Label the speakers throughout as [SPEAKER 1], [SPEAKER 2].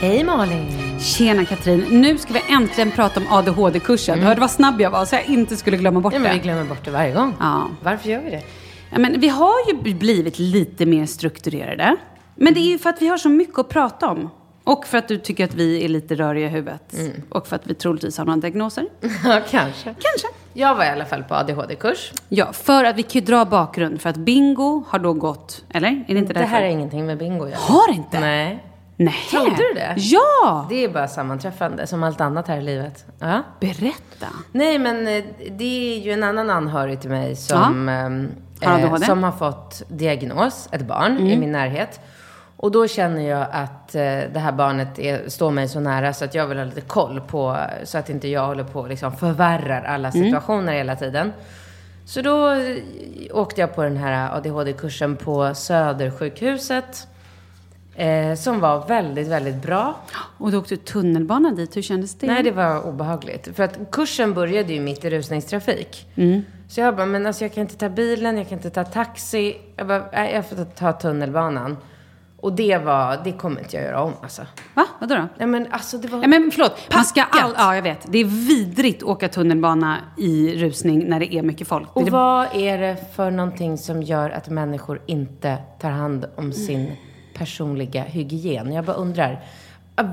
[SPEAKER 1] Hej Malin!
[SPEAKER 2] Tjena Katrin! Nu ska vi äntligen prata om ADHD-kursen. Hörde vad snabb jag var så jag inte skulle glömma bort
[SPEAKER 1] Ja, men vi
[SPEAKER 2] det.
[SPEAKER 1] glömmer bort det varje gång.
[SPEAKER 2] Ja.
[SPEAKER 1] Varför gör vi det?
[SPEAKER 2] Ja, men vi har ju blivit lite mer strukturerade. Men det är ju för att vi har så mycket att prata om. Och för att du tycker att vi är lite röriga i huvudet. Och för att vi troligtvis har några diagnoser.
[SPEAKER 1] Ja, kanske.
[SPEAKER 2] Kanske.
[SPEAKER 1] Jag var i alla fall på ADHD-kurs.
[SPEAKER 2] Ja, för att vi kan ju dra bakgrund. För att bingo har då gått, eller? Är det inte
[SPEAKER 1] Det
[SPEAKER 2] därför?
[SPEAKER 1] här är ingenting med bingo att göra.
[SPEAKER 2] Har det inte?
[SPEAKER 1] Nej.
[SPEAKER 2] Nej.
[SPEAKER 1] Trodde du det?
[SPEAKER 2] Ja!
[SPEAKER 1] Det är bara sammanträffande, som allt annat här i livet. Ja.
[SPEAKER 2] Berätta.
[SPEAKER 1] Nej, men eh, det är ju en annan anhörig till mig som, ehm,
[SPEAKER 2] Har ADHD?
[SPEAKER 1] som har fått diagnos, ett barn, i min närhet. Och då känner jag att eh, det här barnet är, står mig så nära så att jag vill ha lite koll på, så att inte jag håller på och liksom förvärrar alla situationer hela tiden. Så då eh, åkte jag på den här ADHD-kursen på Södersjukhuset. Eh, som var väldigt, väldigt bra.
[SPEAKER 2] Och då åkte du tunnelbana dit. Hur kändes det?
[SPEAKER 1] Nej, det var obehagligt. För att kursen började ju mitt i rusningstrafik. Så jag bara, men alltså jag kan inte ta bilen, jag kan inte ta taxi. Jag bara, nej, jag får ta tunnelbanan. Och det var, det kommer inte jag göra om alltså.
[SPEAKER 2] Va? Vadå då?
[SPEAKER 1] Nej men alltså det var...
[SPEAKER 2] Ja, men förlåt, man ska
[SPEAKER 1] Packat.
[SPEAKER 2] all, ja, jag vet. Det är vidrigt att åka tunnelbana i rusning när det är mycket folk. Det är
[SPEAKER 1] Och
[SPEAKER 2] det-
[SPEAKER 1] vad är det för någonting som gör att människor inte tar hand om sin personliga hygien? Jag bara undrar.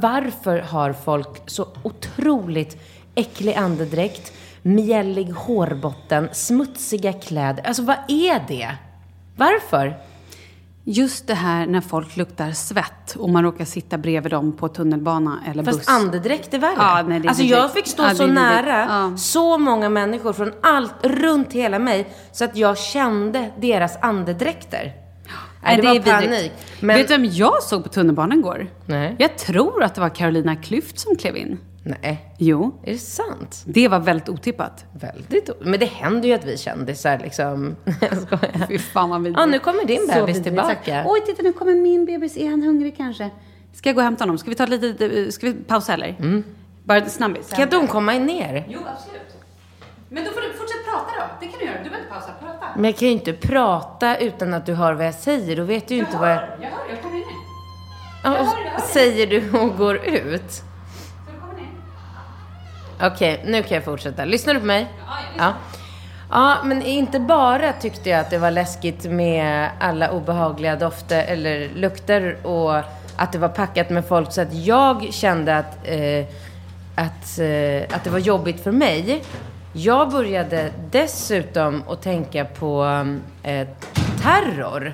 [SPEAKER 1] Varför har folk så otroligt äcklig andedräkt, mjällig hårbotten, smutsiga kläder? Alltså vad är det? Varför?
[SPEAKER 2] Just det här när folk luktar svett och man råkar sitta bredvid dem på tunnelbana eller
[SPEAKER 1] Fast
[SPEAKER 2] buss.
[SPEAKER 1] andedräkt är värre.
[SPEAKER 2] Ja, nej, det är
[SPEAKER 1] alltså
[SPEAKER 2] vidrigt.
[SPEAKER 1] jag fick stå
[SPEAKER 2] Ja, det
[SPEAKER 1] så
[SPEAKER 2] är vidrigt.
[SPEAKER 1] nära
[SPEAKER 2] Ja.
[SPEAKER 1] så många människor från allt runt hela mig så att jag kände deras andedräkter. Nej, det,
[SPEAKER 2] är
[SPEAKER 1] var
[SPEAKER 2] vidrigt.
[SPEAKER 1] panik. Men...
[SPEAKER 2] Vet du vem jag såg på tunnelbanan igår?
[SPEAKER 1] Nej.
[SPEAKER 2] Jag tror att det var Carolina Klüft som klev in.
[SPEAKER 1] Nej,
[SPEAKER 2] Jo,
[SPEAKER 1] är det sant?
[SPEAKER 2] det var väldigt otippat.
[SPEAKER 1] Väldigt o- Men det händer ju att vi kändisar liksom... Jag skojar.
[SPEAKER 2] Fy fan vad vidrigt.
[SPEAKER 1] Ja, nu kommer din
[SPEAKER 2] Så
[SPEAKER 1] bebis
[SPEAKER 2] vidrigt.
[SPEAKER 1] tillbaka.
[SPEAKER 2] Oj, titta nu kommer min bebis. Är han hungrig kanske? Ska jag gå och hämta honom? Ska vi ta lite, eh, ska vi pausa eller?
[SPEAKER 1] Mm.
[SPEAKER 2] Bara en snabbis.
[SPEAKER 1] Kan de komma ner?
[SPEAKER 2] Jo, absolut. Men då får du fortsätta prata då. Det kan du göra. Du behöver inte pausa. Prata.
[SPEAKER 1] Men jag kan ju inte prata utan att du hör vad jag säger. Då vet du ju inte vad jag...
[SPEAKER 2] Jag hör, jag kommer in nu.
[SPEAKER 1] Ja, och
[SPEAKER 2] hör dig, jag hör dig.
[SPEAKER 1] säger du och går ut.
[SPEAKER 2] Så jag kommer in.
[SPEAKER 1] Okej, nu kan jag fortsätta. Lyssnar du på mig? Ja. Ja, men inte bara tyckte jag att det var läskigt med alla obehagliga dofter eller lukter och att det var packat med folk så att jag kände att, eh, att, eh, att det var jobbigt för mig. Jag började dessutom att tänka på eh, terror.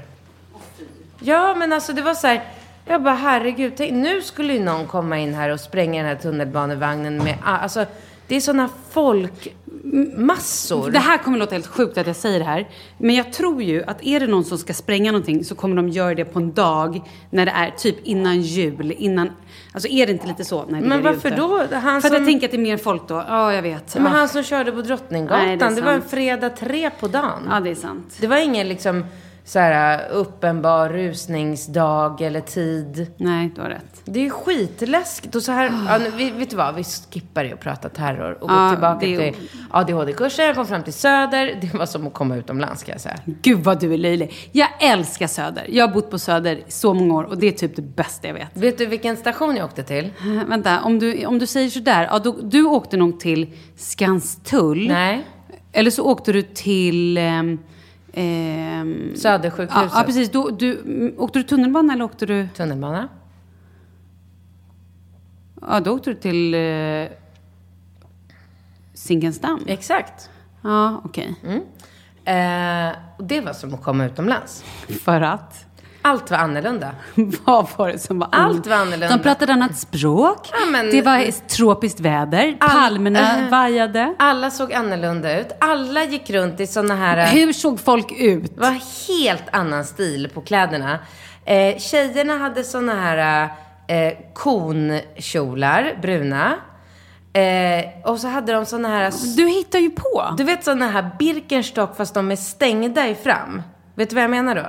[SPEAKER 1] Ja, men alltså det var så här. Jag bara, herregud, tänk, nu skulle ju någon komma in här och spränga den här tunnelbanevagnen med, alltså det är sådana folkmassor.
[SPEAKER 2] Det här kommer låta helt sjukt att jag säger det här. Men jag tror ju att är det någon som ska spränga någonting så kommer de göra det på en dag när det är typ innan jul. Innan, alltså är det inte lite så? Nej, det
[SPEAKER 1] Men
[SPEAKER 2] är det ju
[SPEAKER 1] varför
[SPEAKER 2] inte.
[SPEAKER 1] då? Han
[SPEAKER 2] För
[SPEAKER 1] som-
[SPEAKER 2] att jag tänker att det är mer folk då. Ja, jag vet.
[SPEAKER 1] Men
[SPEAKER 2] ja.
[SPEAKER 1] han som körde på Drottninggatan,
[SPEAKER 2] Nej, det
[SPEAKER 1] det,
[SPEAKER 2] är
[SPEAKER 1] var en
[SPEAKER 2] sant.
[SPEAKER 1] fredag tre på dagen.
[SPEAKER 2] ja, det är sant.
[SPEAKER 1] Det var ingen liksom så här uh, uppenbar rusningsdag eller tid.
[SPEAKER 2] Nej, du har rätt.
[SPEAKER 1] Det är ju skitläskigt och så här, ja, nu, vi- vet du vad, vi skippar det och pratar terror och går
[SPEAKER 2] Ja,
[SPEAKER 1] tillbaka
[SPEAKER 2] det är-
[SPEAKER 1] till ADHD-kursen, jag kom fram till Söder, det var som att komma utomlands kan jag säga.
[SPEAKER 2] Gud vad du är löjlig. Jag älskar Söder. Jag har bott på Söder i så många år och det är typ det bästa jag vet.
[SPEAKER 1] Vet du vilken station jag åkte till?
[SPEAKER 2] Eh, Vänta, om du, om du säger sådär. Ja, då, du åkte nog till Skanstull.
[SPEAKER 1] Nej.
[SPEAKER 2] Eller så åkte du till... ehm, ehm,
[SPEAKER 1] Södersjukhuset.
[SPEAKER 2] Ja, ja precis. Då, du, mm, åkte du tunnelbana eller åkte du...
[SPEAKER 1] Tunnelbana.
[SPEAKER 2] Ja, då åkte du till... Eh, Zinkensdamm?
[SPEAKER 1] Exakt.
[SPEAKER 2] Ja, okej.
[SPEAKER 1] Eh, och det var som att komma utomlands.
[SPEAKER 2] För att?
[SPEAKER 1] Allt var annorlunda.
[SPEAKER 2] Vad var det som var
[SPEAKER 1] Allt var annorlunda.
[SPEAKER 2] De pratade annat språk.
[SPEAKER 1] Ja, men-
[SPEAKER 2] det var tropiskt väder.
[SPEAKER 1] All-
[SPEAKER 2] Palmerna
[SPEAKER 1] Eh.
[SPEAKER 2] vajade.
[SPEAKER 1] Alla såg annorlunda ut. Alla gick runt i såna här... eh,
[SPEAKER 2] Hur såg folk ut?
[SPEAKER 1] Det var helt annan stil på kläderna. Eh, tjejerna hade såna här eh, konkjolar, bruna. Eh, och så hade de såna här...
[SPEAKER 2] Du hittar ju på.
[SPEAKER 1] Du vet såna här Birkenstock fast de är stängda i fram. Vet du vad jag menar då?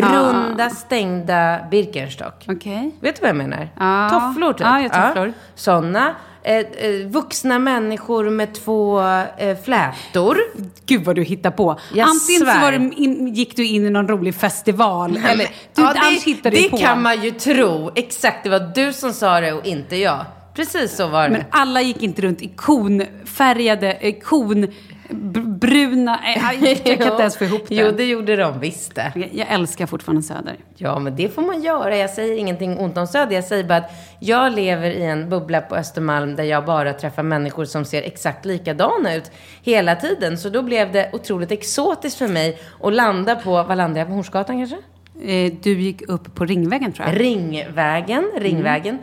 [SPEAKER 1] Runda, stängda Birkenstock.
[SPEAKER 2] Okej.
[SPEAKER 1] Vet du vad jag menar?
[SPEAKER 2] Ja.
[SPEAKER 1] Tofflor typ.
[SPEAKER 2] Ja, ja, tofflor.
[SPEAKER 1] Sådana. Eh, eh, vuxna människor med två eh, flätor.
[SPEAKER 2] Gud vad du hittar på.
[SPEAKER 1] Jag
[SPEAKER 2] Antingen
[SPEAKER 1] svär.
[SPEAKER 2] så var det in, gick du in i någon rolig festival. eller, du,
[SPEAKER 1] Ja,
[SPEAKER 2] annars
[SPEAKER 1] det
[SPEAKER 2] hittar du
[SPEAKER 1] det
[SPEAKER 2] på.
[SPEAKER 1] kan man ju tro. Exakt, det var du som sa det och inte jag. Precis så var det.
[SPEAKER 2] Men alla gick inte runt i konfärgade, eh, konbruna... eh, Jag kan inte ens få ihop det.
[SPEAKER 1] Jo, det gjorde de visst det.
[SPEAKER 2] Jag älskar fortfarande Söder.
[SPEAKER 1] Ja, men det får man göra. Jag säger ingenting ont om Söder. Jag säger bara att jag lever i en bubbla på Östermalm där jag bara träffar människor som ser exakt likadana ut hela tiden. Så då blev det otroligt exotiskt för mig att landa på, vad landade jag på? Hornsgatan kanske?
[SPEAKER 2] Eh, Du gick upp på Ringvägen tror jag. Mm.
[SPEAKER 1] Ringvägen, Ringvägen.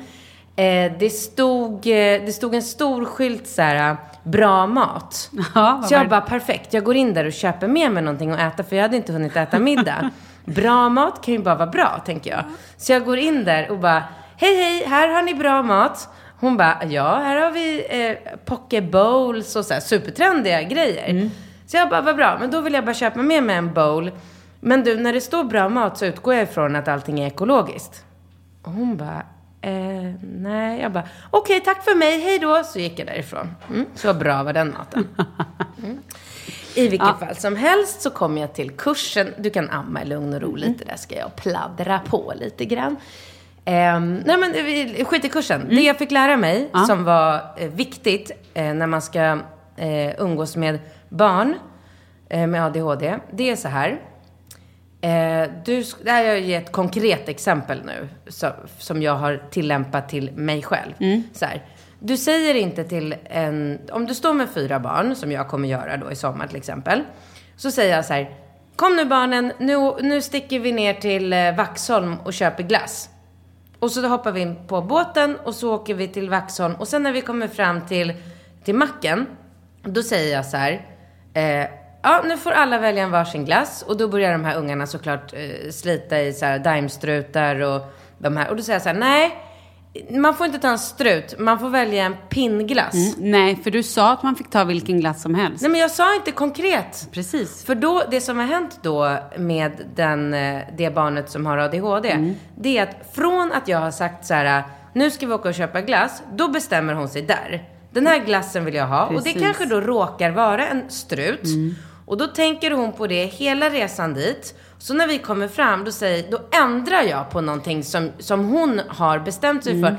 [SPEAKER 1] Eh, det, stod, eh, det stod en stor skylt så här, bra mat.
[SPEAKER 2] Ja, vad
[SPEAKER 1] så jag
[SPEAKER 2] var
[SPEAKER 1] bara, perfekt, jag går in där och köper med mig någonting att äta för jag hade inte hunnit äta middag. bra mat kan ju bara vara bra, tänker jag. Så jag går in där och bara, hej hej, här har ni bra mat. Hon bara, ja, här har vi eh, poke bowls och så här, supertrendiga grejer.
[SPEAKER 2] Mm.
[SPEAKER 1] Så jag bara, vad bra, men då vill jag bara köpa med mig en bowl. Men du, när det står bra mat så utgår jag ifrån att allting är ekologiskt. Och hon bara, eh, nej. Jag bara, okej tack för mig, hej då. Så gick jag därifrån. Mm, så bra var den maten. Mm. I vilket fall som helst så kommer jag till kursen. Du kan amma i lugn och ro lite. Där ska jag pladdra på lite grann. Ehm, nej men vi- skit i kursen. Det jag fick lära mig som var eh, viktigt eh, när man ska eh, umgås med barn eh, med ADHD. Det är så här. Eh, du, sk- det här är ju ett konkret exempel nu så, som jag har tillämpat till mig själv. Så här, du säger inte till en... Om du står med fyra barn, som jag kommer göra då i sommar till exempel. Så säger jag så här. Kom nu barnen, nu, nu sticker vi ner till eh, Vaxholm och köper glass. Och så hoppar vi in på båten och så åker vi till Vaxholm. Och sen när vi kommer fram till, till macken, då säger jag så här. Eh, ja, nu får alla välja en varsin glass. Och då börjar de här ungarna såklart eh, slita i så här daimstrutar och de här. Och då säger jag så här, nej. Man får inte ta en strut, man får välja en pinnglass.
[SPEAKER 2] Nej, för du sa att man fick ta vilken glass som helst.
[SPEAKER 1] Nej men jag sa inte konkret.
[SPEAKER 2] Precis.
[SPEAKER 1] För då, det som har hänt då med den, eh, det barnet som har ADHD,
[SPEAKER 2] Mm.
[SPEAKER 1] det är att från att jag har sagt så här, nu ska vi åka och köpa glass, då bestämmer hon sig där. Den här glassen vill jag ha och det
[SPEAKER 2] Precis. Mm.
[SPEAKER 1] kanske då råkar vara en strut. Och då tänker hon på det hela resan dit. Så när vi kommer fram, då, säger, då ändrar jag på någonting som, som hon har bestämt sig för.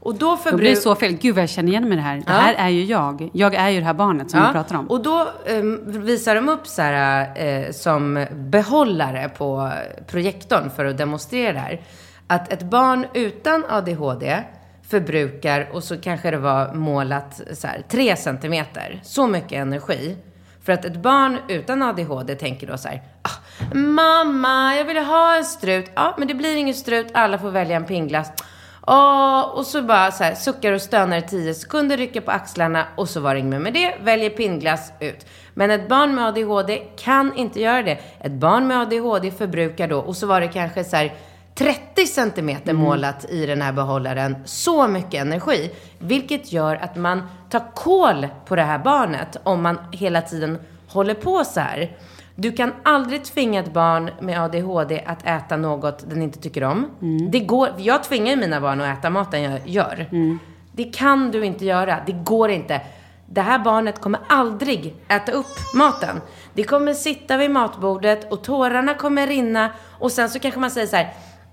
[SPEAKER 1] Och då
[SPEAKER 2] Mm. Då blir det
[SPEAKER 1] förbrukar...
[SPEAKER 2] så fel. Gud vad jag känner igen mig i det här. Det här är ju jag. Jag är ju det här barnet som vi pratar om.
[SPEAKER 1] Och då eh, visar de upp så här, eh, som behållare på projektorn för att demonstrera det här. Att ett barn utan ADHD förbrukar, och så kanske det var målat så här, 3 centimeter, så mycket energi. För att ett barn utan ADHD tänker då så här, ah, mamma, jag vill ha en strut. Ja, men det blir ingen strut, alla får välja en pingglass. Ja, och så bara så här, suckar och stönar i 10 sekunder, rycker på axlarna och så var det inget med det. Väljer pinnglass ut. Men ett barn med ADHD kan inte göra det. Ett barn med ADHD förbrukar då, och så var det kanske så här 30 centimeter målat i den här behållaren. Så mycket energi. Vilket gör att man tar kål på det här barnet om man hela tiden håller på så här. Du kan aldrig tvinga ett barn med ADHD att äta något den inte tycker om. Det går, jag tvingar ju mina barn att äta maten jag gör. Det kan du inte göra. Det går inte. Det här barnet kommer aldrig äta upp maten. Det kommer sitta vid matbordet och tårarna kommer rinna och sen så kanske man säger så här.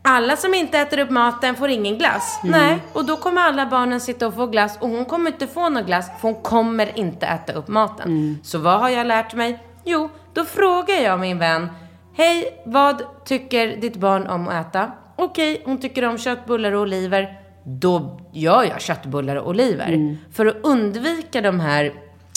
[SPEAKER 1] Alla som inte äter upp maten får ingen glass. Nej, och då kommer alla barnen sitta och få glass och hon kommer inte få någon glass för hon kommer inte äta upp maten. Så vad har jag lärt mig? Jo, då frågar jag min vän. Hej, vad tycker ditt barn om att äta? Okej, hon tycker om köttbullar och oliver. Då gör jag köttbullar och oliver. För att undvika de här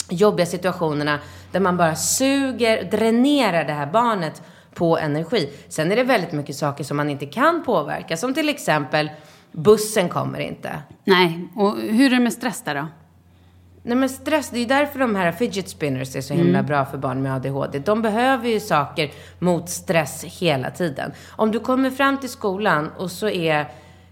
[SPEAKER 1] jobbiga situationerna där man bara suger, dränerar det här barnet på energi. Sen är det väldigt mycket saker som man inte kan påverka. Som till exempel, bussen kommer inte.
[SPEAKER 2] Nej, och hur är det med stress där då?
[SPEAKER 1] Nej men stress, det är ju därför de här fidget spinners är så
[SPEAKER 2] Mm.
[SPEAKER 1] himla bra för barn med ADHD. De behöver ju saker mot stress hela tiden. Om du kommer fram till skolan och så är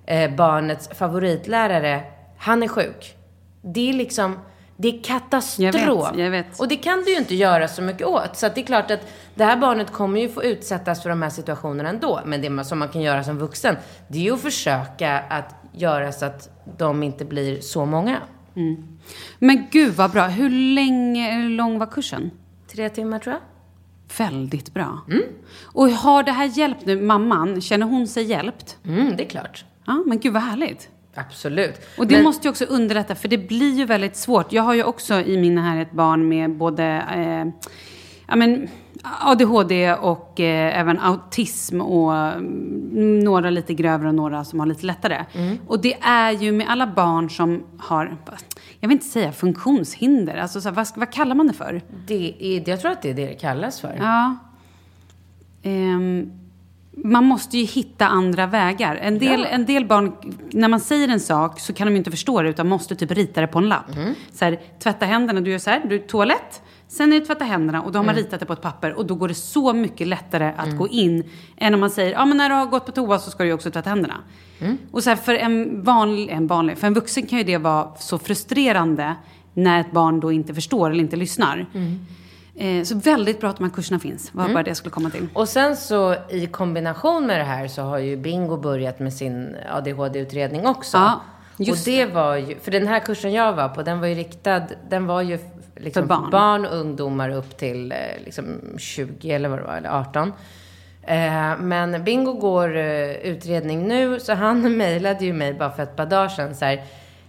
[SPEAKER 1] eh, barnets favoritlärare, han är sjuk. Det är liksom, det är katastrof.
[SPEAKER 2] Jag vet, jag vet.
[SPEAKER 1] Och det kan du ju inte göra så mycket åt. Så att det är klart att det här barnet kommer ju få utsättas för de här situationerna ändå. Men det man- som man kan göra som vuxen, det är ju att försöka att göra så att de inte blir så många.
[SPEAKER 2] Men gud vad bra. Hur länge, hur lång var kursen?
[SPEAKER 1] Tre timmar tror jag.
[SPEAKER 2] Väldigt bra.
[SPEAKER 1] Mm.
[SPEAKER 2] Och har det här hjälpt nu, mamman, känner hon sig hjälpt?
[SPEAKER 1] Mm, det är klart.
[SPEAKER 2] Ja, men gud vad härligt.
[SPEAKER 1] Absolut.
[SPEAKER 2] Och det
[SPEAKER 1] Men-
[SPEAKER 2] måste ju också underlätta, för det blir ju väldigt svårt. Jag har ju också i min här ett barn med både eh, ja, men ADHD och eh, även autism och mm, några lite grövre och några som har lite lättare.
[SPEAKER 1] Mm.
[SPEAKER 2] Och det är ju med alla barn som har, jag vill inte säga funktionshinder, alltså så här, vad, vad kallar man det för?
[SPEAKER 1] det är, jag tror att det är det det kallas för.
[SPEAKER 2] Ja. Ehm, man måste ju hitta andra vägar. En del, en del barn, när man säger en sak så kan de ju inte förstå det utan måste typ rita det på en lapp. Så här, tvätta händerna, du gör så här, du toalett. Sen är det tvätta händerna och då har man ritat det på ett papper och då går det så mycket lättare att gå in än om man säger, ja men när du har gått på toa så ska du ju också tvätta händerna. Och så här, för en vanlig, en vanlig, för en vuxen kan ju det vara så frustrerande när ett barn då inte förstår eller inte lyssnar. Eh, Så väldigt bra att de här kurserna finns. var bara det jag skulle komma till.
[SPEAKER 1] Och sen så i kombination med det här så har ju Bingo börjat med sin ADHD-utredning också.
[SPEAKER 2] Ja. Just
[SPEAKER 1] och det var ju, för den här kursen jag var på, den var ju riktad, den var ju liksom
[SPEAKER 2] För barn.
[SPEAKER 1] och ungdomar upp till eh, liksom 20 eller vad det var, eller 18. Eh, Men Bingo går eh, utredning nu, så han mejlade ju mig bara för ett par dagar sedan så här,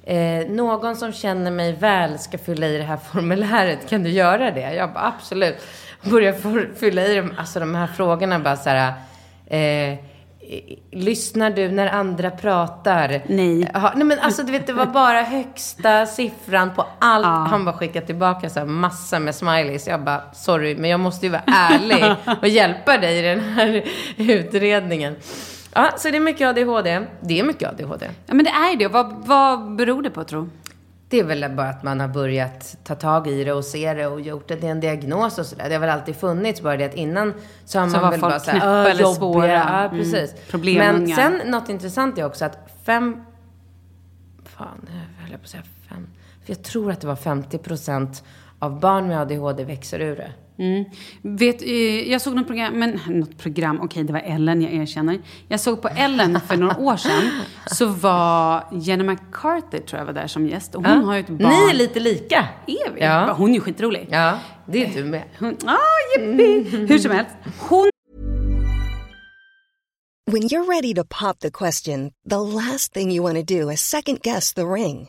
[SPEAKER 1] eh, någon som känner mig väl ska fylla i det här formuläret, kan du göra det? Jag bara absolut. Började for- fylla i dem, alltså de här frågorna bara så här, eh, Lyssnar du när andra pratar?
[SPEAKER 2] Nej.
[SPEAKER 1] Ja, nej men alltså du vet, det var bara högsta siffran på allt. Han bara skickade tillbaka så här massa med smileys. Jag bara, sorry, men jag måste ju vara ärlig och hjälpa dig i den här utredningen. Ja, så det är mycket ADHD. Det är mycket ADHD.
[SPEAKER 2] Ja, men det är ju det. Vad, vad beror det på, tro?
[SPEAKER 1] Det är väl bara att man har börjat ta tag i det och se det och gjort det till en diagnos och sådär. Det har väl alltid funnits, bara det att innan så har
[SPEAKER 2] Så
[SPEAKER 1] man
[SPEAKER 2] var
[SPEAKER 1] väl
[SPEAKER 2] folk
[SPEAKER 1] bara såhär,
[SPEAKER 2] knäppa
[SPEAKER 1] "Åh,
[SPEAKER 2] eller
[SPEAKER 1] jobbiga."
[SPEAKER 2] svåra.
[SPEAKER 1] Ja,
[SPEAKER 2] Mm.
[SPEAKER 1] precis. Men
[SPEAKER 2] Problemungar.
[SPEAKER 1] sen något intressant är också att fem... Fan, jag höll på att säga fem. För jag tror att det var 50 procent av barn med ADHD växer ur det.
[SPEAKER 2] Mm. Vet, eh, jag såg något program, men något program, okej det var Ellen, jag erkänner. Jag såg på Ellen för några år sedan, så var Jenny McCarthy tror jag var där som gäst. Och hon har ju ett barn.
[SPEAKER 1] Ni är lite lika.
[SPEAKER 2] Är vi?
[SPEAKER 1] Ja.
[SPEAKER 2] Hon är ju skitrolig.
[SPEAKER 1] Ja, det är du med.
[SPEAKER 2] Hon, ah, yippee! Hur som helst, hon
[SPEAKER 3] When you're ready to pop the question, the last thing you want to do is second guess the ring.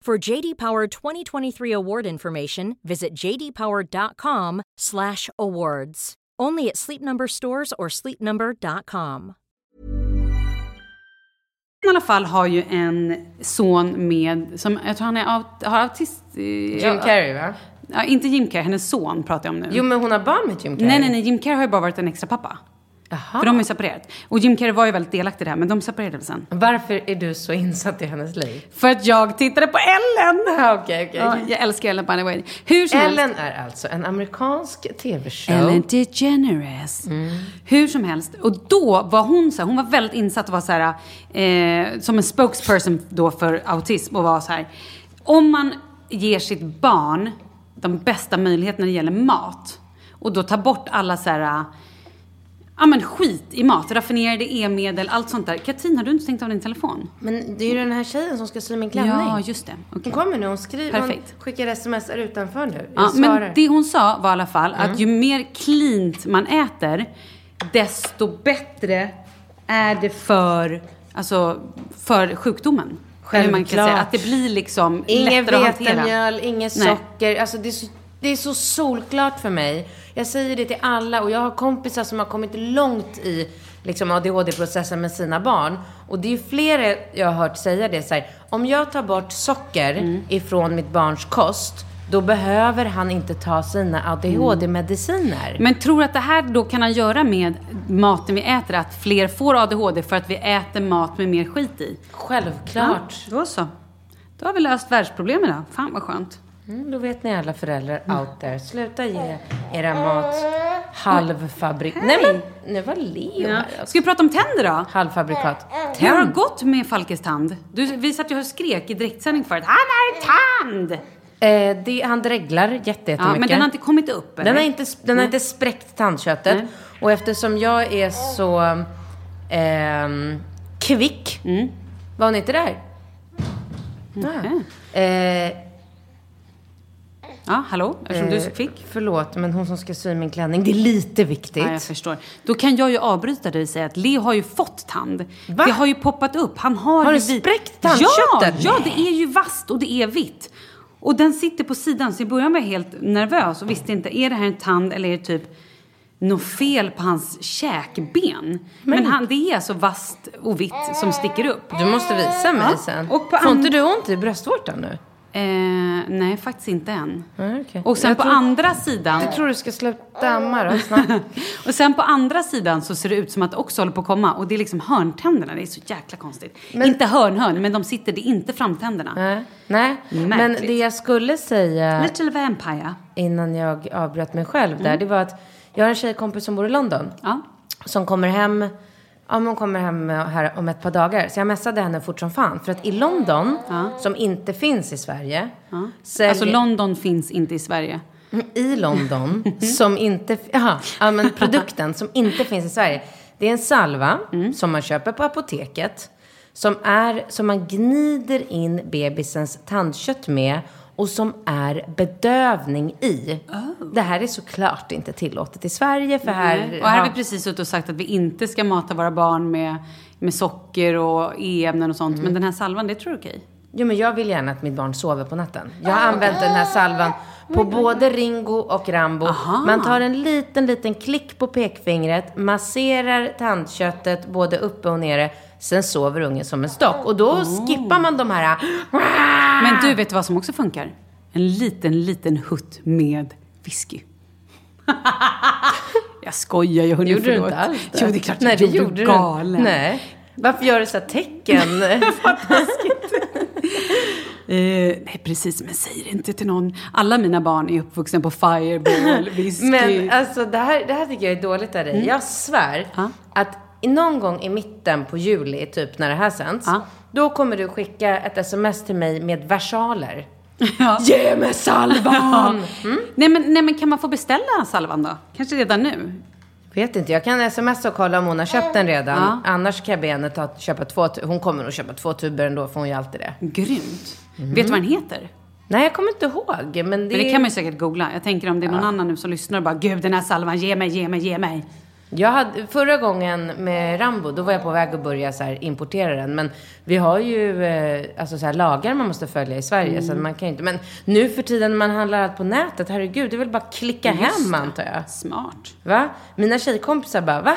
[SPEAKER 4] For JD Power 2023 award information, visit jdpower.com/awards. Only at Sleep Number stores or sleepnumber.com.
[SPEAKER 2] i alla fall har ju en son med, som jag tror han är aut, har autist... eh,
[SPEAKER 1] Jim
[SPEAKER 2] ja, Mm.
[SPEAKER 1] Carrey, va?
[SPEAKER 2] Ja, inte Jim Carrey, hennes son pratar jag om nu.
[SPEAKER 1] Jo, men hon har barn med Jim Carrey.
[SPEAKER 2] Nej, nej, nej. Jim Carrey har ju bara varit en extra pappa.
[SPEAKER 1] Ah.
[SPEAKER 2] För de har ju separerat. Och Jim Carrey var ju väldigt delaktig i det här, men de separerade väl sen.
[SPEAKER 1] Varför är du så insatt i hennes liv?
[SPEAKER 2] För att jag tittade på Ellen!
[SPEAKER 1] Ja, Ah, Okej, okej.
[SPEAKER 2] Ja, jag älskar Ellen by the way. Hur som helst.
[SPEAKER 1] Ellen är alltså en amerikansk tv-show.
[SPEAKER 2] Ellen DeGeneres.
[SPEAKER 1] Mm.
[SPEAKER 2] Hur som helst. Och då var hon så här, hon var väldigt insatt och var så här, eh, som en spokesperson då för autism och var så här. Om man ger sitt barn de bästa möjligheterna när det gäller mat och då tar bort alla så här, ja men skit i mat, raffinerade e-medel, allt sånt där. Katrin, har du inte stängt av din telefon?
[SPEAKER 1] Men det är ju den här tjejen som ska sy min klänning.
[SPEAKER 2] Ja, just det. Okej.
[SPEAKER 1] Hon kommer nu, hon skriver,
[SPEAKER 2] Perfekt.
[SPEAKER 1] hon skickar sms utanför nu. Jag
[SPEAKER 2] Ja,
[SPEAKER 1] svarar. Mm.
[SPEAKER 2] men det hon sa var i alla fall att ju mer cleant man äter, desto bättre är det för, alltså, för sjukdomen. Eller man kan
[SPEAKER 1] Självklart.
[SPEAKER 2] säga. Att det blir liksom
[SPEAKER 1] Inget
[SPEAKER 2] lättare att hantera.
[SPEAKER 1] vetemjöl, inget
[SPEAKER 2] Nej.
[SPEAKER 1] socker. Alltså det är, så, det är så solklart för mig. Jag säger det till alla och jag har kompisar som har kommit långt i liksom ADHD-processen med sina barn. Och det är ju flera jag har hört säga det så här. Om jag tar bort socker
[SPEAKER 2] Mm.
[SPEAKER 1] ifrån mitt barns kost, då behöver han inte ta sina ADHD-mediciner.
[SPEAKER 2] Men tror att det här då kan ha att göra med maten vi äter, att fler får ADHD för att vi äter mat med mer skit i?
[SPEAKER 1] Självklart.
[SPEAKER 2] Ja, då så. Då har vi löst världsproblemen då. Fan vad skönt.
[SPEAKER 1] Mm, då vet ni alla föräldrar
[SPEAKER 2] Mm.
[SPEAKER 1] out there. Sluta ge era mat halvfabrik...
[SPEAKER 2] Mm.
[SPEAKER 1] Nej men, nu var Leo här. alltså.
[SPEAKER 2] Ska vi prata om tänder då?
[SPEAKER 1] Halvfabrikat.
[SPEAKER 2] Hur har det gått med Falkes tand? Du, vi satt ju och skrek i direktsändning förut. Han har en tand!
[SPEAKER 1] Eh, det, han dreglar jätte, jättemycket.
[SPEAKER 2] Ja, men den har inte kommit upp?
[SPEAKER 1] Den har inte, den har inte spräckt tandköttet. Och eftersom jag är så ehm, kvick. Var hon inte där? Ah. Eh,
[SPEAKER 2] Ja, hallå? Eftersom du är så
[SPEAKER 1] Eh,
[SPEAKER 2] kvick.
[SPEAKER 1] Förlåt, men hon som ska sy min klänning. Det är lite viktigt.
[SPEAKER 2] Ja, jag förstår. Då kan jag ju avbryta dig och säga att Leo har ju fått tand. Det har ju poppat upp. Han har
[SPEAKER 1] Har
[SPEAKER 2] ju
[SPEAKER 1] det spräckt tandköttet?
[SPEAKER 2] Ja, ja, det är ju vasst och det är vitt. Och den sitter på sidan, så i början var jag helt nervös och visste inte, är det här en tand eller är det typ något fel på hans käkben? Men, han, det är alltså vasst och vitt som sticker upp.
[SPEAKER 1] Du måste visa mig
[SPEAKER 2] Ja.
[SPEAKER 1] sen.
[SPEAKER 2] Och på
[SPEAKER 1] Får
[SPEAKER 2] and-
[SPEAKER 1] inte du ont i bröstvårtan nu?
[SPEAKER 2] eh, nej, faktiskt inte än.
[SPEAKER 1] Nej, okej.
[SPEAKER 2] Och sen
[SPEAKER 1] Jag
[SPEAKER 2] på
[SPEAKER 1] tror-
[SPEAKER 2] andra sidan...
[SPEAKER 1] Jag tror du ska sluta amma då snabbt.
[SPEAKER 2] och sen på andra sidan så ser det ut som att det också håller på att komma. Och det är liksom hörntänderna. Det är så jäkla konstigt. Inte hörnhörn, men de sitter. Det är inte framtänderna.
[SPEAKER 1] Nej, nej. men
[SPEAKER 2] Märkligt.
[SPEAKER 1] det jag skulle säga
[SPEAKER 2] Little Vampire.
[SPEAKER 1] innan jag avbröt mig själv där, det var att jag har en tjejkompis som bor i London.
[SPEAKER 2] Ja.
[SPEAKER 1] Som kommer hem, ja men hon kommer hem här om ett par dagar. Så jag messade henne fort som fan. För att i London, som inte finns i Sverige. säljer-
[SPEAKER 2] Alltså London finns inte i Sverige.
[SPEAKER 1] i London som inte, aha, ja, men produkten som inte finns i Sverige. Det är en salva som man köper på apoteket. Som, är, som man gnider in bebisens tandkött med och som är bedövning i. Det här är såklart inte tillåtet i Sverige för här...
[SPEAKER 2] Mm. Och här har
[SPEAKER 1] ja.
[SPEAKER 2] vi precis suttit och sagt att vi inte ska mata våra barn med, med socker och e-ämnen och sånt.
[SPEAKER 1] Mm.
[SPEAKER 2] Men den här salvan, det tror du är okej?
[SPEAKER 1] Jo, men jag vill gärna att mitt barn sover på natten. Jag
[SPEAKER 2] Ah,
[SPEAKER 1] har använt den här salvan på både Ringo och Rambo. Man tar en liten, liten klick på pekfingret, masserar tandköttet både uppe och nere. Sen sover ungen som en stock. Och då
[SPEAKER 2] Oh.
[SPEAKER 1] skippar man de här... Ah.
[SPEAKER 2] Men du, vet du vad som också funkar? En liten, liten hutt med whisky. jag skojar ju, hörni.
[SPEAKER 1] Gjorde du
[SPEAKER 2] förlåt.
[SPEAKER 1] inte alls
[SPEAKER 2] Jo, det är klart
[SPEAKER 1] Nej,
[SPEAKER 2] jag
[SPEAKER 1] det
[SPEAKER 2] gjorde.
[SPEAKER 1] gjorde du inte.
[SPEAKER 2] galen.
[SPEAKER 1] Nej. Varför gör du så här tecken?
[SPEAKER 2] Eh, nej, precis. Men säg det inte till någon. Alla mina barn är uppvuxna på Fireball, whisky.
[SPEAKER 1] Men alltså det här, det här tycker jag är dåligt av dig. Jag svär
[SPEAKER 2] Mm. Ja.
[SPEAKER 1] att någon gång i mitten på juli, typ när det här sänds,
[SPEAKER 2] Ja.
[SPEAKER 1] då kommer du skicka ett sms till mig med versaler.
[SPEAKER 2] Ja. Mm.
[SPEAKER 1] Ge mig salvan!
[SPEAKER 2] nej, men, nej, men kan man få beställa salvan då? Kanske redan nu?
[SPEAKER 1] Vet inte, jag kan smsa och kolla om hon har köpt den redan. Annars kan jag be henne ta, köpa två, tu- hon kommer nog köpa två tuber ändå, för hon gör alltid det.
[SPEAKER 2] Grymt.
[SPEAKER 1] Mm.
[SPEAKER 2] Vet du vad den heter?
[SPEAKER 1] Nej, jag kommer inte ihåg, men det,
[SPEAKER 2] Men det kan man ju säkert googla. Jag tänker om det är någon annan nu som lyssnar och bara Gud, den här salvan, ge mig, ge mig, ge mig.
[SPEAKER 1] Jag hade, förra gången med Rambo, då var jag på väg att börja så här, importera den. Men vi har ju eh, alltså, så här, lagar man måste följa i Sverige. Så att man kan ju inte, men nu för tiden när man handlar allt på nätet, herregud, det är väl bara att klicka hem antar jag.
[SPEAKER 2] Smart.
[SPEAKER 1] Va? Mina tjejkompisar bara, va?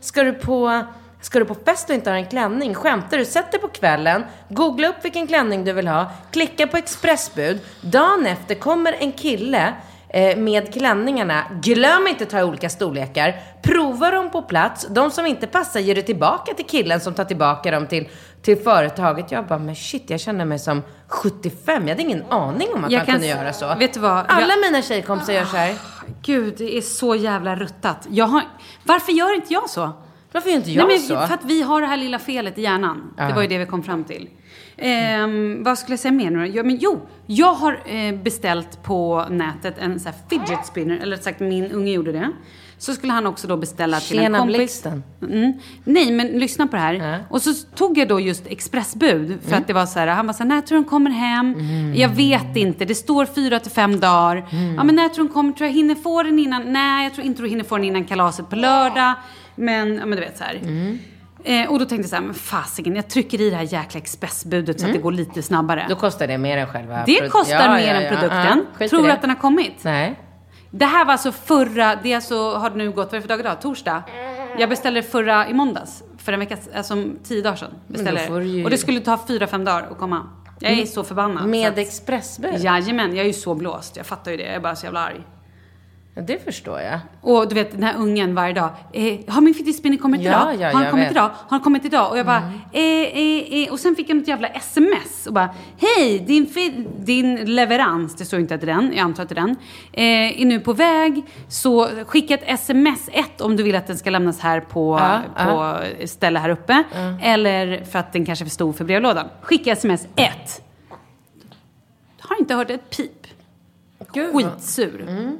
[SPEAKER 1] Ska du på... Ska du på fest och inte ha en klänning? Skämtar du? Sätt dig på kvällen, googla upp vilken klänning du vill ha, klicka på expressbud. Dagen efter kommer en kille eh, med klänningarna. Glöm inte att ta olika storlekar. Prova dem på plats. De som inte passar ger du tillbaka till killen som tar tillbaka dem till, till företaget. Jag bara, men shit, jag känner mig som 75. Jag hade ingen aning om att
[SPEAKER 2] Jag
[SPEAKER 1] man
[SPEAKER 2] kan
[SPEAKER 1] kunde
[SPEAKER 2] s-
[SPEAKER 1] göra så.
[SPEAKER 2] vet du vad?
[SPEAKER 1] Alla
[SPEAKER 2] Jag-
[SPEAKER 1] mina tjejkompisar gör så här.
[SPEAKER 2] Gud, det är så jävla ruttat. Jag har... Varför gör inte jag så?
[SPEAKER 1] Varför gör inte jag
[SPEAKER 2] Nej, men
[SPEAKER 1] så?
[SPEAKER 2] För att vi har det här lilla felet i hjärnan. Det var ju det vi kom fram till. Ehm, Vad skulle jag säga mer nu då? ja, men Jo, jag har eh, beställt på nätet en så här fidget spinner. Eller rätt sagt, min unge gjorde det. Så skulle han också då beställa till en
[SPEAKER 1] Tjena,
[SPEAKER 2] kompis.
[SPEAKER 1] blixten.
[SPEAKER 2] Mm. Nej, men lyssna på det här. Och så tog jag då just expressbud. För
[SPEAKER 1] Mm.
[SPEAKER 2] att det var så här, han var så här, när tror du hon kommer hem? Jag vet inte, det står fyra till fem dagar.
[SPEAKER 1] Mm.
[SPEAKER 2] Ja, men när tror hon kommer? Tror jag hinner få den innan? Nej, jag tror inte du hinner få den innan kalaset på lördag. Men, ja men du vet så här.
[SPEAKER 1] Mm.
[SPEAKER 2] Eh, och då tänkte jag så här, men fasiken, jag trycker i det här jäkla expressbudet så att det går lite snabbare.
[SPEAKER 1] Mm. Då kostar det mer än själva
[SPEAKER 2] det
[SPEAKER 1] produ-
[SPEAKER 2] kostar
[SPEAKER 1] Ja,
[SPEAKER 2] mer
[SPEAKER 1] ja,
[SPEAKER 2] än
[SPEAKER 1] ja.
[SPEAKER 2] produkten.
[SPEAKER 1] Ja, skit i
[SPEAKER 2] tror du
[SPEAKER 1] det.
[SPEAKER 2] att den har kommit?
[SPEAKER 1] Nej.
[SPEAKER 2] Det här var alltså förra, det är alltså, har det nu gått, vad är det för dag idag? Torsdag? Jag beställde förra i måndags. För en vecka, alltså tio dagar sedan. Beställde
[SPEAKER 1] Men då får du ju- Mm.
[SPEAKER 2] Och det skulle ta fyra, fem dagar att komma. Jag är så förbannad.
[SPEAKER 1] Med
[SPEAKER 2] så att-
[SPEAKER 1] expressbud? Ja.
[SPEAKER 2] Jajamän, jag är ju så blåst. Jag fattar ju det. Jag är bara så jävla arg.
[SPEAKER 1] Det förstår jag.
[SPEAKER 2] Och du vet den här ungen varje dag. Eh, har min fidgetspinner kommit
[SPEAKER 1] Ja,
[SPEAKER 2] idag?
[SPEAKER 1] ja,
[SPEAKER 2] har han
[SPEAKER 1] jag
[SPEAKER 2] kommit
[SPEAKER 1] vet. Mm.
[SPEAKER 2] idag? Har han kommit idag? Och jag bara, eh, eh, eh. Och sen fick jag ett jävla sms och bara, hej, din, fi- din leverans, det står ju inte att det är den, jag antar att det är den, eh, är nu på väg. Så skicka ett sms, ett om du vill att den ska lämnas här på,
[SPEAKER 1] Ja, Mm.
[SPEAKER 2] på ställe här uppe. Eller för att den kanske är för stor för brevlådan. Skicka sms ett. Har inte hört ett pip. Skitsur.
[SPEAKER 1] Mm.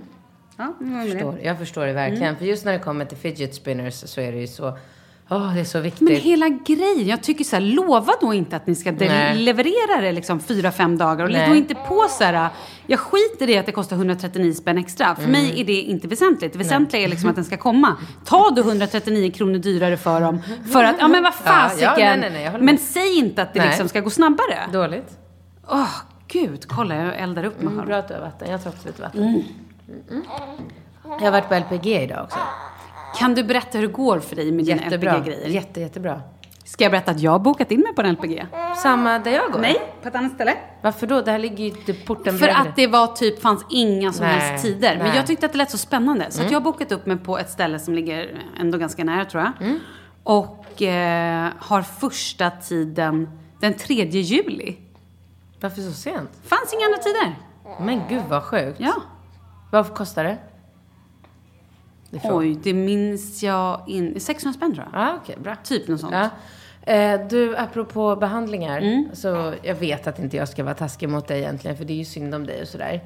[SPEAKER 2] Ja, nu var
[SPEAKER 1] Jag
[SPEAKER 2] det.
[SPEAKER 1] förstår, jag förstår det verkligen.
[SPEAKER 2] Mm.
[SPEAKER 1] För just när det kommer till fidget spinners så är det ju så... Åh, det är så viktigt.
[SPEAKER 2] Men hela grejen, jag tycker så här, lova då inte att ni ska de-
[SPEAKER 1] Nej.
[SPEAKER 2] leverera det liksom fyra, fem dagar. Och
[SPEAKER 1] Nej.
[SPEAKER 2] gå inte på så här, jag skiter i att det kostar 139 spänn extra. För
[SPEAKER 1] Mm.
[SPEAKER 2] mig är det inte väsentligt. Det väsentliga är liksom att den ska komma. Ta du 139 kronor dyrare för dem. För att, ja men vad
[SPEAKER 1] Ja, ja,
[SPEAKER 2] fasiken.
[SPEAKER 1] nej, nej, nej, jag håller
[SPEAKER 2] men
[SPEAKER 1] med.
[SPEAKER 2] säg inte att det
[SPEAKER 1] Nej.
[SPEAKER 2] liksom ska gå snabbare.
[SPEAKER 1] Dåligt.
[SPEAKER 2] Åh, gud. Kolla, jag eldar upp mig
[SPEAKER 1] Mm,
[SPEAKER 2] själv.
[SPEAKER 1] bra att du har vatten. Jag tar också lite vatten.
[SPEAKER 2] Mm.
[SPEAKER 1] Jag har varit på LPG idag också.
[SPEAKER 2] Kan du berätta hur det går för dig med Ah, dina
[SPEAKER 1] Jättebra.
[SPEAKER 2] LPG-grejer?
[SPEAKER 1] Jätte, jättebra.
[SPEAKER 2] Ska jag berätta att jag har bokat in mig på en LPG?
[SPEAKER 1] Samma där jag går?
[SPEAKER 2] Nej, på ett annat ställe.
[SPEAKER 1] Varför då? Det här ligger ju inte porten
[SPEAKER 2] För
[SPEAKER 1] bredvid.
[SPEAKER 2] att det var typ, fanns inga som
[SPEAKER 1] Nej,
[SPEAKER 2] helst tider. Men
[SPEAKER 1] nej.
[SPEAKER 2] jag tyckte att det lät så spännande. Så
[SPEAKER 1] Mm.
[SPEAKER 2] att jag har bokat upp mig på ett ställe som ligger ändå ganska nära tror jag.
[SPEAKER 1] Mm.
[SPEAKER 2] Och eh, har första tiden den 3 juli.
[SPEAKER 1] Varför så sent?
[SPEAKER 2] Fanns inga andra tider.
[SPEAKER 1] Men gud vad sjukt.
[SPEAKER 2] Ja.
[SPEAKER 1] Vad kostar det? frågan.
[SPEAKER 2] Oj, det minns jag in... 600 spänn tror jag.
[SPEAKER 1] Ja, Ah, okej, bra.
[SPEAKER 2] Typ något sånt.
[SPEAKER 1] Ja. Eh, du, apropå behandlingar.
[SPEAKER 2] Mm.
[SPEAKER 1] Så jag vet att inte jag ska vara taskig mot dig egentligen, för det är ju synd om dig och sådär.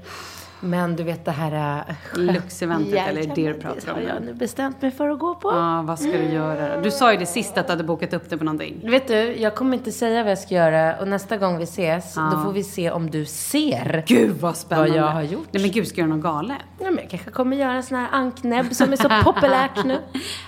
[SPEAKER 1] Men du vet det här... Äh,
[SPEAKER 2] Luxeventet eller Dear pratar
[SPEAKER 1] Det
[SPEAKER 2] om
[SPEAKER 1] har jag
[SPEAKER 2] det.
[SPEAKER 1] nu bestämt mig för att gå på.
[SPEAKER 2] Ja, vad ska du göra då? Du sa ju det sist att du hade bokat upp det på någonting.
[SPEAKER 1] Vet du, jag kommer inte säga vad jag ska göra och nästa gång vi ses,
[SPEAKER 2] Ja.
[SPEAKER 1] då får vi se om du ser.
[SPEAKER 2] Gud vad spännande.
[SPEAKER 1] Vad jag har gjort.
[SPEAKER 2] Nej men gud, ska jag göra något galet?
[SPEAKER 1] Ja, men jag kanske kommer göra en sån här anknäbb som är så populärt nu.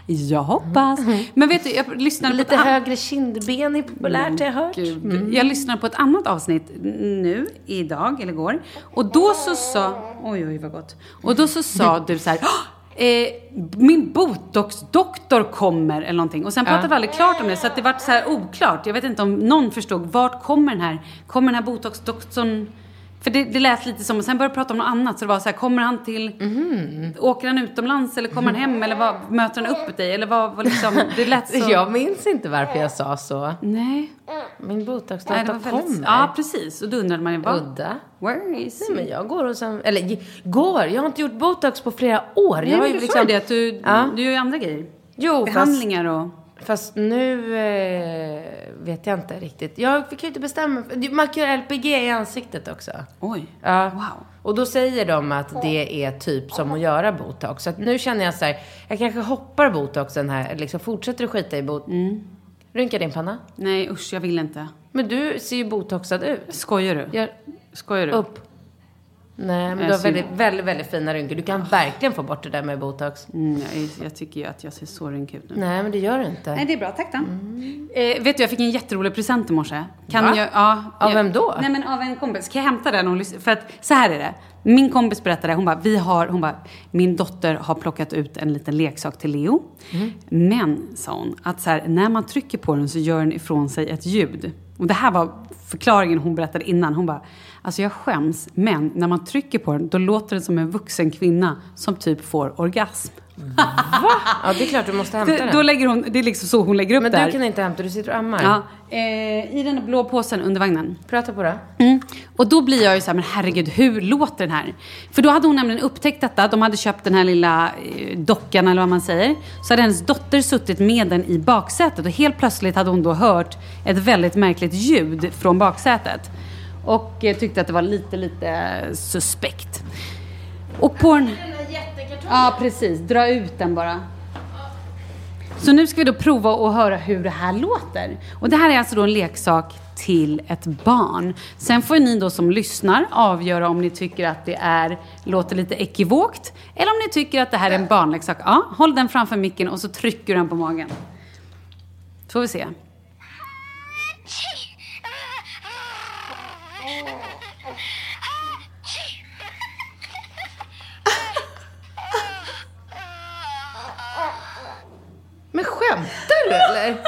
[SPEAKER 2] Jag hoppas. Men vet du, jag lyssnade
[SPEAKER 1] Lite
[SPEAKER 2] på ett an-
[SPEAKER 1] högre kindben är populärt, har jag hört.
[SPEAKER 2] Mm, Gud. Jag lyssnade på ett annat avsnitt nu, idag eller igår. Och då så sa... Oj, oj, vad gott. Och då så sa du så här... "Åh, Eh, min botoxdoktor kommer eller någonting. Och sen
[SPEAKER 1] Ja.
[SPEAKER 2] pratade vi aldrig klart om det så att det vart så här oklart. Jag vet inte om någon förstod. Vart kommer den här, kommer den här botoxdoktorn? För det, det lät lite som, och sen började vi prata om något annat. Så det var så här, kommer han till, åker han utomlands eller kommer han hem eller vad, möter han upp dig? Eller vad, vad liksom, det lät så.
[SPEAKER 1] Jag minns inte varför jag sa så.
[SPEAKER 2] Nej.
[SPEAKER 1] Min botoxdoktor
[SPEAKER 2] Nej, det var väldigt,
[SPEAKER 1] kommer.
[SPEAKER 2] ja, precis. Och då undrade man ju vad...
[SPEAKER 1] Udda.
[SPEAKER 2] Where is
[SPEAKER 1] Nej, men jag går och sen, eller ge- går, jag har inte gjort botox på flera år.
[SPEAKER 2] Nej,
[SPEAKER 1] jag har
[SPEAKER 2] men
[SPEAKER 1] ju
[SPEAKER 2] du sa ju det att du,
[SPEAKER 1] Ja.
[SPEAKER 2] du gör ju andra grejer.
[SPEAKER 1] Jo,
[SPEAKER 2] Behandlingar och...
[SPEAKER 1] Fast, fast nu eh, vet jag inte riktigt. Jag fick ju inte bestämma. Du- Man kan göra LPG i ansiktet också.
[SPEAKER 2] Oj.
[SPEAKER 1] Ja.
[SPEAKER 2] Wow.
[SPEAKER 1] Och då säger de att det är typ som att göra botox. Så att nu känner jag så här, jag kanske hoppar botoxen här, liksom fortsätter att skita i botox.
[SPEAKER 2] Mm.
[SPEAKER 1] Rynka din panna.
[SPEAKER 2] Nej, usch, jag vill inte.
[SPEAKER 1] Men du ser ju botoxad ut.
[SPEAKER 2] Skojar du?
[SPEAKER 1] Gör
[SPEAKER 2] Skojar du?
[SPEAKER 1] upp. Nej, men
[SPEAKER 2] Mm. Jag
[SPEAKER 1] du har
[SPEAKER 2] ser- Ah.
[SPEAKER 1] väldigt, väldigt, väldigt fina rynkor. Du kan verkligen få bort det där med botox.
[SPEAKER 2] Mm, jag, är- jag tycker ju att jag ser så rynkig ut nu.
[SPEAKER 1] Nej, men det gör du inte.
[SPEAKER 2] Nej, det är bra. Tack då. Eh, vet du, jag fick en jätterolig present i morse. Kan
[SPEAKER 1] Va?
[SPEAKER 2] jag, ja,
[SPEAKER 1] Av
[SPEAKER 2] jag,
[SPEAKER 1] vem då?
[SPEAKER 2] Nej, men av en kompis. Kan jag hämta den? Och lyssna? För att så här är det. Min kompis berättade, hon bara, vi har, hon bara, min dotter har plockat ut en liten leksak till Leo.
[SPEAKER 1] Mm.
[SPEAKER 2] Men, sa hon, att så här, när man trycker på den så gör den ifrån sig ett ljud. Och det här var förklaringen hon berättade innan. Hon bara, alltså jag skäms, men när man trycker på den då låter den som en vuxen kvinna som typ får orgasm.
[SPEAKER 1] Ja, det är klart du måste hämta
[SPEAKER 2] Då,
[SPEAKER 1] den.
[SPEAKER 2] då lägger hon, det är liksom så hon lägger upp
[SPEAKER 1] men
[SPEAKER 2] det här.
[SPEAKER 1] du kan inte hämta, du sitter och ammar.
[SPEAKER 2] Ja, eh, I den där blå påsen under vagnen.
[SPEAKER 1] Prata på det.
[SPEAKER 2] Mm. Och då blir jag ju så här, men herregud, hur låter den här? För då hade hon nämligen upptäckt detta. De hade köpt den här lilla eh, dockan eller vad man säger. Så hade hennes dotter suttit med den i baksätet och helt plötsligt hade hon då hört ett väldigt märkligt ljud från baksätet. Och eh, tyckte att det var lite, lite suspekt. Och på den... Ja, precis. Dra ut den bara. Så nu ska vi då prova och höra hur det här låter. Och det här är alltså då en leksak till ett barn. Sen får ni då som lyssnar avgöra om ni tycker att det är, låter lite ekivokt eller om ni tycker att det här är en barnleksak. Ja, håll den framför micken och så trycker du den på magen. Så får vi se.
[SPEAKER 1] Men skämtar du eller?